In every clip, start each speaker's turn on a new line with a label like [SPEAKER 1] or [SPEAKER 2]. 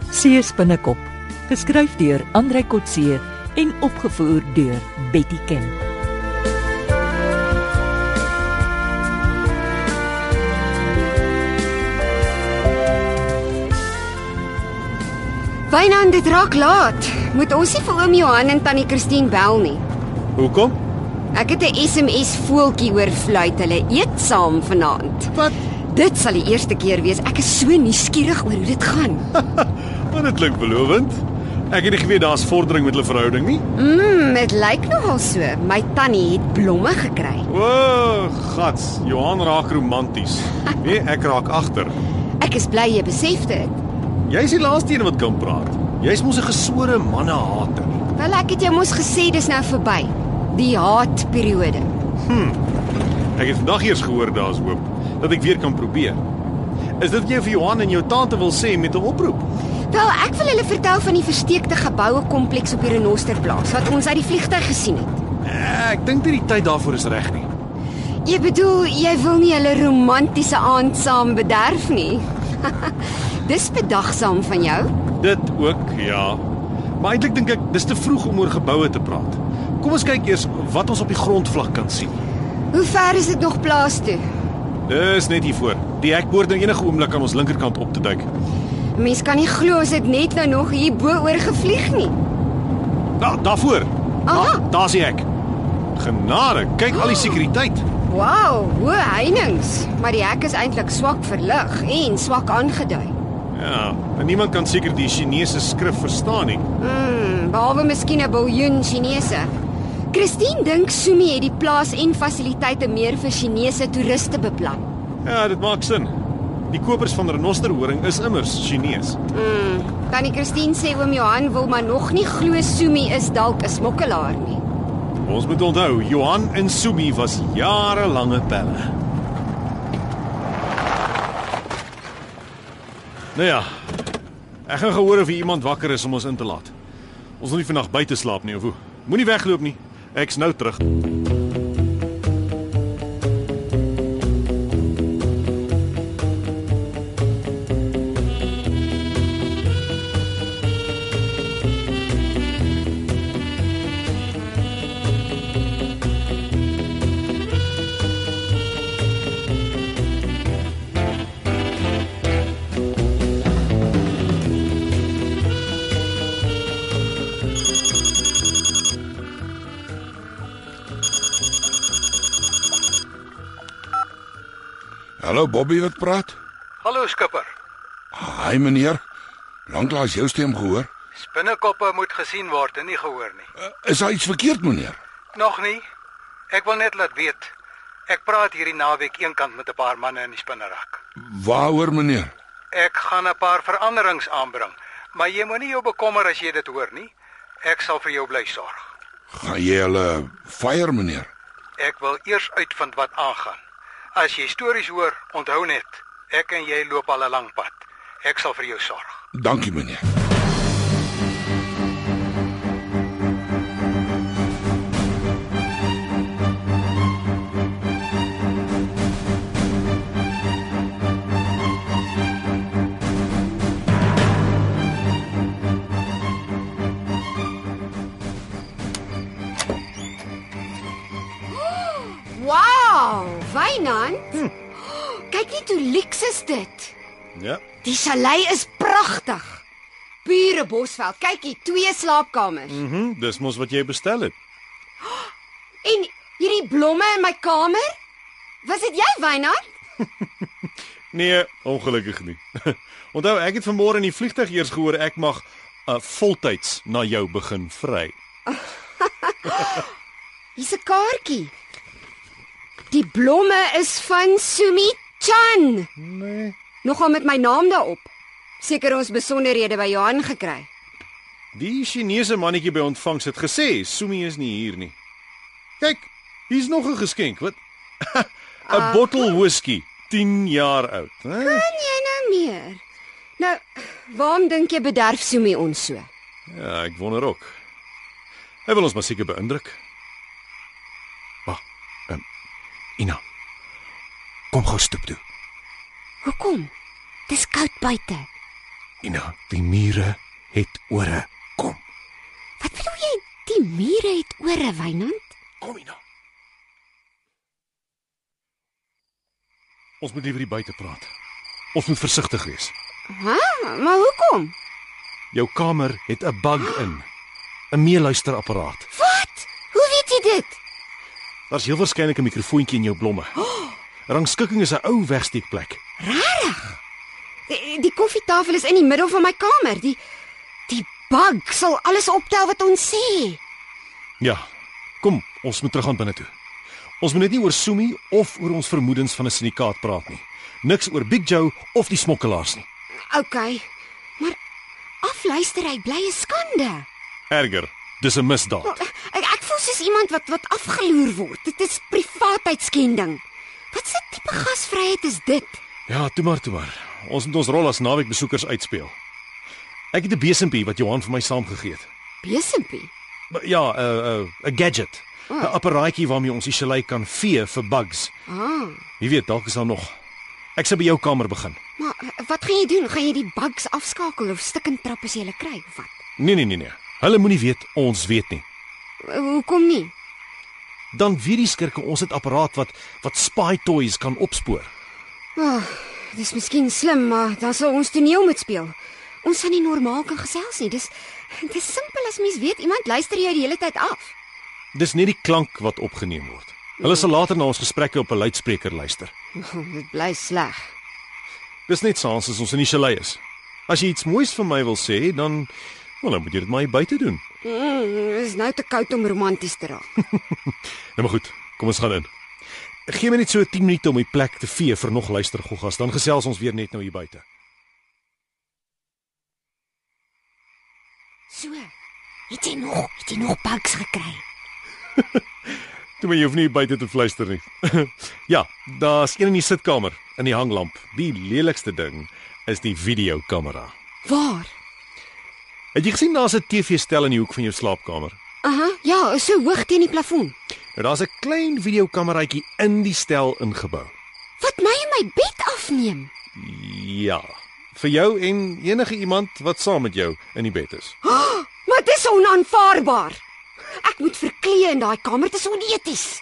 [SPEAKER 1] Coetzee se binnekop, geskryf deur Andrei Coetzee en opgevoer deur Betty Ken.
[SPEAKER 2] Wynand, dit raak laat. Moet ons nie vir oom Johan en tannie Christine bel nie.
[SPEAKER 3] Hoekom?
[SPEAKER 2] Ek het 'n SMS voeltjie oor fluit hulle eet saam vanaand.
[SPEAKER 3] Wat?
[SPEAKER 2] Dit sal die eerste keer wees. Ek is so nuuskierig oor hoe dit gaan.
[SPEAKER 3] Want dit klink belovend. Ek het nie geweet daar's vordering met hulle verhouding nie.
[SPEAKER 2] Mmm, dit lyk nogal so. My tannie het blomme gekry.
[SPEAKER 3] O, gats, Johan raak romanties. Nee, ek raak agter.
[SPEAKER 2] Ek is bly jy besef dit.
[SPEAKER 3] Jy's die laaste een wat kan praat. Jy's mos 'n gesore mannehater.
[SPEAKER 2] Wel, ek het jou mos gesê dis nou verby. Die haatperiode.
[SPEAKER 3] Ek het vandag eers gehoor daar's hoop dat ek weer kan probeer. Is dit wat jy vir Johan en jou tante wil sê met 'n oproep?
[SPEAKER 2] Wel, ek wil hulle vertel van die versteekte geboue kompleks op die Renosterplaas wat ons uit die vliegtuig gesien het.
[SPEAKER 3] Eh, Ek dink dit die tyd daarvoor is reg nie.
[SPEAKER 2] Jy bedoel, jy wil nie hulle romantiese aand saam bederf nie. Dis bedagsaam van jou.
[SPEAKER 3] Dit ook, ja. Maar eintlik dink ek dis te vroeg om oor geboue te praat. Kom ons kyk eers wat ons op die grondvlak kan sien.
[SPEAKER 2] Hoe ver is dit nog plaas toe?
[SPEAKER 3] Dis net hier voor. Die hek behoort nou enige oomblik aan ons linkerkant op te duik.
[SPEAKER 2] Mens kan nie glo as dit net nou nog hier bo oor gevlieg nie.
[SPEAKER 3] Da, Ja, daarvoor.
[SPEAKER 2] Aha.
[SPEAKER 3] Da, Daar's die hek. Genade, kyk al die sekuriteit.
[SPEAKER 2] Wow, hoe heininge, maar die hek is eintlik swak verlig en swak aangedui.
[SPEAKER 3] Ja, en niemand kan seker die Chinese skrif verstaan nie.
[SPEAKER 2] Hmm, behalwe miskien 'n biljoen Chinese. Christine dink Sumi het die plaas en fasiliteite meer vir Chinese toeriste beplan.
[SPEAKER 3] Ja, dit maak sin. Die kopers van renosterhoring is immers Chinees.
[SPEAKER 2] Mm, tannie Christine sê oom Johan wil maar nog nie glo Sumi is dalk 'n smokkelaar nie.
[SPEAKER 3] Ons moet onthou, Johan en Sumi was jarelange pelle. Nou ja. Ek gaan gehoor of hier iemand wakker is om ons in te laat. Ons wil nie vandag buite slaap nie of hoe. Moenie wegloop nie. Ek's nou terug.
[SPEAKER 4] Hallo Bobby wat praat?
[SPEAKER 5] Hallo skipper.
[SPEAKER 4] Hi meneer. Lanklaas jou stem gehoor.
[SPEAKER 5] Spinnekoppe moet gesien word en nie gehoor nie.
[SPEAKER 4] Eh, Is daar iets verkeerd meneer?
[SPEAKER 5] Nog nie. Ek wil net laat weet. Ek praat hierdie naweek eenkant met 'n paar manne in die spinnerak.
[SPEAKER 4] Waaroor meneer?
[SPEAKER 5] Ek gaan 'n paar veranderings aanbring, maar jy moenie jou bekommer as jy dit hoor nie. Ek sal vir jou bly sorg.
[SPEAKER 4] Gaan jy hulle fire meneer?
[SPEAKER 5] Ek wil eers uitvind wat aangaan. As jy stories hoor, onthou net, ek en jy loop al 'n lang pad. Ek sal vir jou sorg.
[SPEAKER 4] Dankie meneer.
[SPEAKER 2] Wow, Wynand. Hm. Kyk net hoe lieks is dit.
[SPEAKER 3] Ja.
[SPEAKER 2] Die chalet is pragtig. Pure bosveld. Kyk hier, twee slaapkamers. Mm.
[SPEAKER 3] Mhm, mm dis mos wat jy bestel het.
[SPEAKER 2] En hierdie blomme in my kamer? Was dit jy, Wynand?
[SPEAKER 3] Nee, ongelukkig nie. Onthou, ek het vanmôre in die vliegtyg eers gehoor ek mag uh, voltyds na jou begin vry.
[SPEAKER 2] Hier's 'n kaartjie. Die blomme is van Sumi Chan.
[SPEAKER 3] Nee.
[SPEAKER 2] Nogal met my naam daarop. Seker ons besonderhede by Johan gekry.
[SPEAKER 3] Die Chinese mannetjie by ontvangs het gesê Sumi is nie hier nie. Kyk, hier's nog 'n geskenk. Wat? 'n uh, bottel whisky, 10 jaar oud, hè?
[SPEAKER 2] Kan jy nou meer? Nou, waarom dink jy bederf Sumi ons so?
[SPEAKER 3] Ja, ek wonder ook. Hy wil ons maar seker beïndruk. Wag. Ehm um, Ina. Kom gou stoep toe.
[SPEAKER 2] Hoekom? Dis koud buite.
[SPEAKER 3] Ina, die mure het ore. Kom.
[SPEAKER 2] Wat bedoel jy? Die mure het ore, Wynand?
[SPEAKER 3] Kom Ina. Ons moet liewer hier buite praat. Ons moet versigtig wees.
[SPEAKER 2] Ha, maar hoekom?
[SPEAKER 3] Jou kamer het 'n bug in. 'n Meeluisterapparaat.
[SPEAKER 2] Wat? Hoe weet jy dit?
[SPEAKER 3] Daar's heel waarskynlik 'n mikrofoontjie in jou blomme. Rangskikking is 'n ou wegsteekplek.
[SPEAKER 2] Die, die koffietafel is in die middel van my kamer. Die die bug sal alles optel wat ons sê.
[SPEAKER 3] Ja. Kom, ons moet terug aan binne toe. Ons moet net nie oor Sumi of oor ons vermoedens van 'n sindikaat praat nie. Niks oor Big Joe of die smokkelaars nie.
[SPEAKER 2] OK. Maar afluistery bly 'n skande.
[SPEAKER 3] Erger, dis 'n misdaad.
[SPEAKER 2] Eh, Ek ek voel soos iemand wat wat afgeloer word. Dit is privaatheidskending. Wat 'n tipe gasvryheid is dit?
[SPEAKER 3] Ja, toe maar, toe maar. Ons moet ons rol as naweekbesoekers uitspeel. Ek het 'n besempie wat Johan vir my saamgegee het.
[SPEAKER 2] Besempie.
[SPEAKER 3] Maar Ja, 'n uh, 'n uh, 'n gadget. 'n
[SPEAKER 2] Ah.
[SPEAKER 3] Apparaatjie waarmee ons die chalet kan vee vir bugs.
[SPEAKER 2] Ah,
[SPEAKER 3] Jy weet, dalk is daar nog. Ek sal by jou kamer begin.
[SPEAKER 2] maar eh, wat gaan jy doen? Gaan jy die bugs afskakel of stikken trap as jy hulle kry of wat?
[SPEAKER 3] Nee nee nee nee. Hulle moenie weet ons weet nie.
[SPEAKER 2] Eh, Hoekom nie?
[SPEAKER 3] Dan weet die skurke ons het apparaat wat wat spy toys kan opspoor.
[SPEAKER 2] Oh, dis miskien slim, maar dan sal ons toneel moet speel. Ons gaan nie normaal kan gesels nie. Dis dis simpel as mens weet iemand luister jou die hele tyd af.
[SPEAKER 3] Dis nie die klank wat opgeneem word. Hulle sal later na ons gesprekke op 'n luidspreker luister.
[SPEAKER 2] Dit bly sleg.
[SPEAKER 3] Dis net saans as ons in die chalet is. As jy iets moois vir my wil sê, dan wel dan moet jy dit maar hier buite doen.
[SPEAKER 2] Mm, is nou te koud om romanties te raak.
[SPEAKER 3] Nou maar goed, kom ons gaan in. Gee my net so 10 minute om die plek te vee vir nog luistergoggas, dan gesels ons weer net nou hier buite.
[SPEAKER 2] So. Het jy nog, het jy nog bugs gekry?
[SPEAKER 3] Toe maar jy hoef nie buite te fluister nie. ja, daar's een in die sitkamer, in die hanglamp. Die lelikste ding is die videokamera.
[SPEAKER 2] Waar?
[SPEAKER 3] Het jy gesien daar's 'n TV-stel in die hoek van jou slaapkamer?
[SPEAKER 2] Aha, ja, so hoog teen die plafon.
[SPEAKER 3] Nou daar's 'n klein videokameraatjie in die stel ingebou.
[SPEAKER 2] Wat my in my bed afneem.
[SPEAKER 3] Ja, vir jou en enige iemand wat saam met jou in die bed is.
[SPEAKER 2] Maar dis onaanvaarbaar. Ek moet verklee in daai kamer, dit is oneties.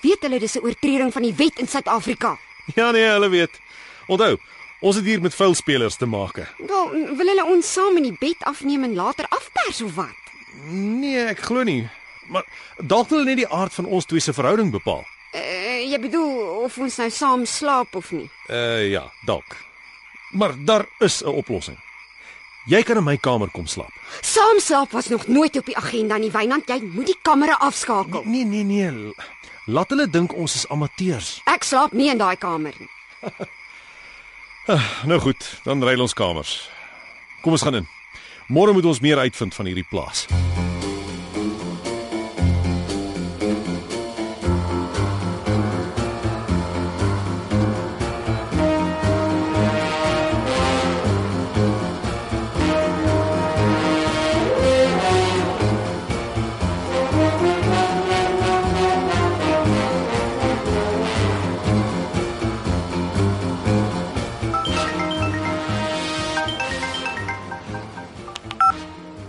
[SPEAKER 2] Weet hulle dis 'n oortreding van die wet in Suid-Afrika?
[SPEAKER 3] Ja nee, hulle weet. Onthou, ons het hier met vuilspelers te make.
[SPEAKER 2] Wel, wil hulle ons saam in die bed afneem en later afpers of wat?
[SPEAKER 3] Nee, ek glo nie. Maar dalk wil hulle net die aard van ons twee se verhouding bepaal.
[SPEAKER 2] Uh, jy bedoel of ons nou saam slaap of nie?
[SPEAKER 3] Uh ja, dalk. Maar daar is 'n oplossing. Jy kan in my kamer kom slaap.
[SPEAKER 2] Saam slaap was nog nooit op die agenda nie, Wynand. Jy moet die kamera afskakel.
[SPEAKER 3] Nee, nee, nee. l- Laat hulle dink ons is amateurs.
[SPEAKER 2] Ek slaap nie in daai kamer nie.
[SPEAKER 3] Nou goed, dan ruil ons kamers. Kom ons gaan in. Môre moet ons meer uitvind van hierdie plaas.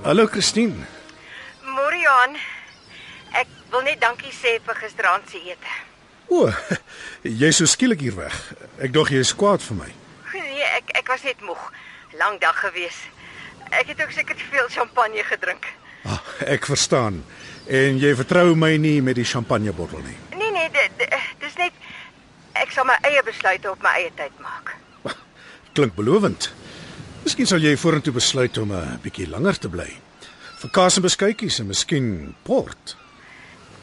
[SPEAKER 3] Hallo Christine.
[SPEAKER 6] Môre Johan. Ek wil net dankie sê vir gisteraand se ete.
[SPEAKER 7] O, jy's so skielik hier weg. Ek dink jy is kwaad vir my.
[SPEAKER 6] Nee, ek ek was net moeg. Lang dag gewees. Ek het ook seker te veel champagne gedrink.
[SPEAKER 7] Ah, ek verstaan. En jy vertrou my nie met die champagnebottel nie.
[SPEAKER 6] Nee nee, dit dit- dis net ek sal my eie besluite op my eie tyd maak.
[SPEAKER 7] Klink belovend. Miskien sal jy vorentoe besluit om 'n bietjie langer te bly. Vir kaas en beskuitjies en miskien port.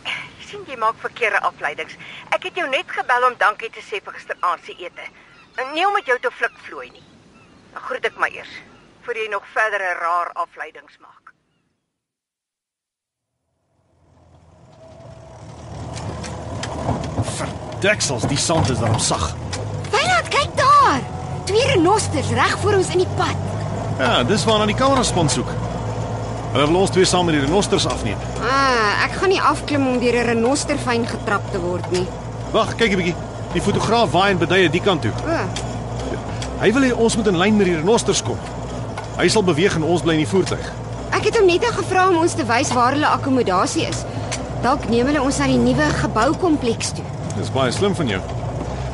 [SPEAKER 6] Jy sien jy maak verkeerde afleidings. Ek het jou net gebel om dankie te sê vir gisteraand se ete. En nie om met jou te flik vloei nie. Nou groet ek maar eers voor jy nou nog verdere rar afleidings maak.
[SPEAKER 3] Deksels, die sand is daarom sag.
[SPEAKER 2] Wynand, kyk daar. Twee renosters reg voor ons in die pad.
[SPEAKER 3] Ja, dis waarna die kameraspan soek. Hulle wil ons twee saam met die renosters afneem.
[SPEAKER 2] Ah, ek gaan nie afklim om deur 'n renoster fyn getrap te word nie.
[SPEAKER 3] Wag, kyk 'n bietjie. Die fotograaf waai en beduie die kant toe.
[SPEAKER 2] O,
[SPEAKER 3] Hy wil hê ons moet in lyn met die renosters kom. Hy sal beweeg en ons bly in die voertuig.
[SPEAKER 2] Ek het hom net gevra om ons te wys waar hulle akkommodasie is. Dalk neem hulle ons na die nuwe geboukompleks toe.
[SPEAKER 3] Dis baie slim van jou.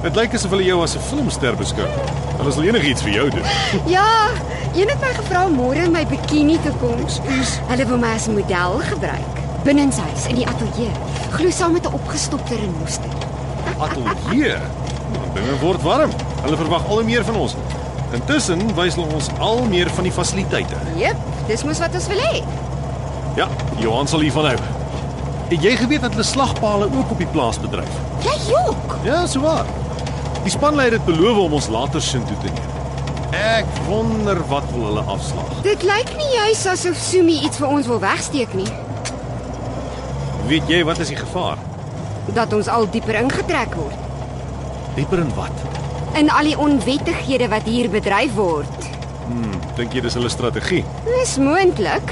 [SPEAKER 3] Dit lyk asof hulle jou as 'n filmster beskou. Hulle sal enigiets vir jou doen.
[SPEAKER 2] Ja, een het my gevra om môre in my bikini te kom.
[SPEAKER 3] Ekskuus.
[SPEAKER 2] Hulle wil my as model gebruik binnehuis in die ateljee, glo saam met 'n opgestopte renoster.
[SPEAKER 3] Atelier. Dinge word warm. Hulle verwag al hoe meer van ons. Intussen wys hulle ons al meer van die fasiliteite.
[SPEAKER 2] Jep, dis mos wat ons wil hê.
[SPEAKER 3] Ja, Johan sal hiervan hou. Het jy geweet dat hulle slagpale ook op die plaas bedryf?
[SPEAKER 2] Jy jok.
[SPEAKER 3] Ja, so waar. Die spanleier het beloof om ons later sin toe te neem. Ek wonder wat wil hulle afslag.
[SPEAKER 2] Dit lyk nie juis asof Sumi iets vir ons wil wegsteek nie,
[SPEAKER 3] Weet jy wat is die gevaar?
[SPEAKER 2] dat ons al dieper ingetrek word
[SPEAKER 3] Dieper in wat?
[SPEAKER 2] in al die onwettighede wat hier bedryf word.
[SPEAKER 3] Dink jy dis hulle strategie?
[SPEAKER 2] Dis moontlik.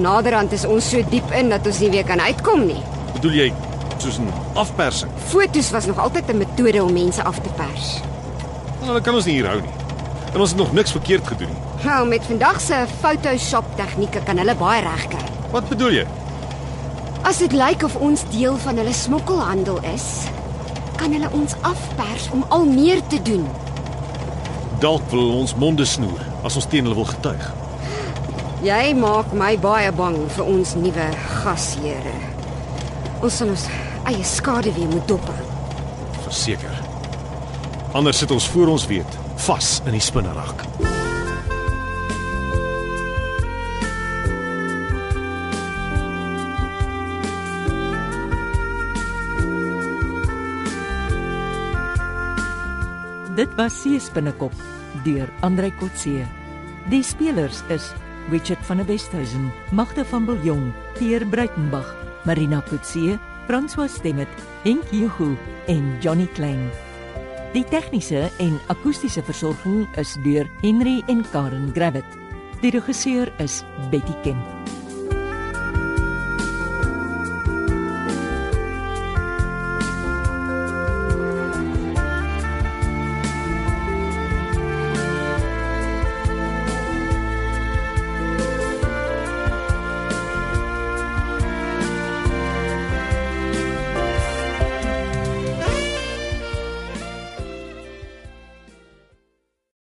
[SPEAKER 2] Naderhand is ons so diep in dat ons nie weer kan uitkom nie.
[SPEAKER 3] Bedoel jy soos 'n afpersing?
[SPEAKER 2] Fotos was nog altyd 'n metode om mense af te pers.
[SPEAKER 3] Nou, Hulle kan ons nie hier hou nie. En ons het nog niks verkeerd gedoen nie.
[SPEAKER 2] Nou, met vandag se Photoshop tegnieke kan hulle baie regkry.
[SPEAKER 3] Wat bedoel jy?
[SPEAKER 2] As dit lyk of ons deel van hulle smokkelhandel is, kan hulle ons afpers om al meer te doen.
[SPEAKER 3] Dalk wil hulle ons monde snoer as ons teen hulle wil getuig.
[SPEAKER 2] Jy maak my baie bang vir ons nuwe gasheere. Ons sal ons eie skade weer moet dop. hou.
[SPEAKER 3] Verseker. Anders sit ons voor ons weet vas in die spinnerak.
[SPEAKER 1] Dit was Seespinnekop deur Andrei Kotse. Die spelers is Richard van der Westhuizen, Magda van Biljong, Pierre Breitenberg, Marina Kotse, François Stemmet, Henk Jehu en Johnny Klein. Die tegniese en akoestiese versorging is deur Henry en Karen Gravett. Die regisseur is Betty Kemp.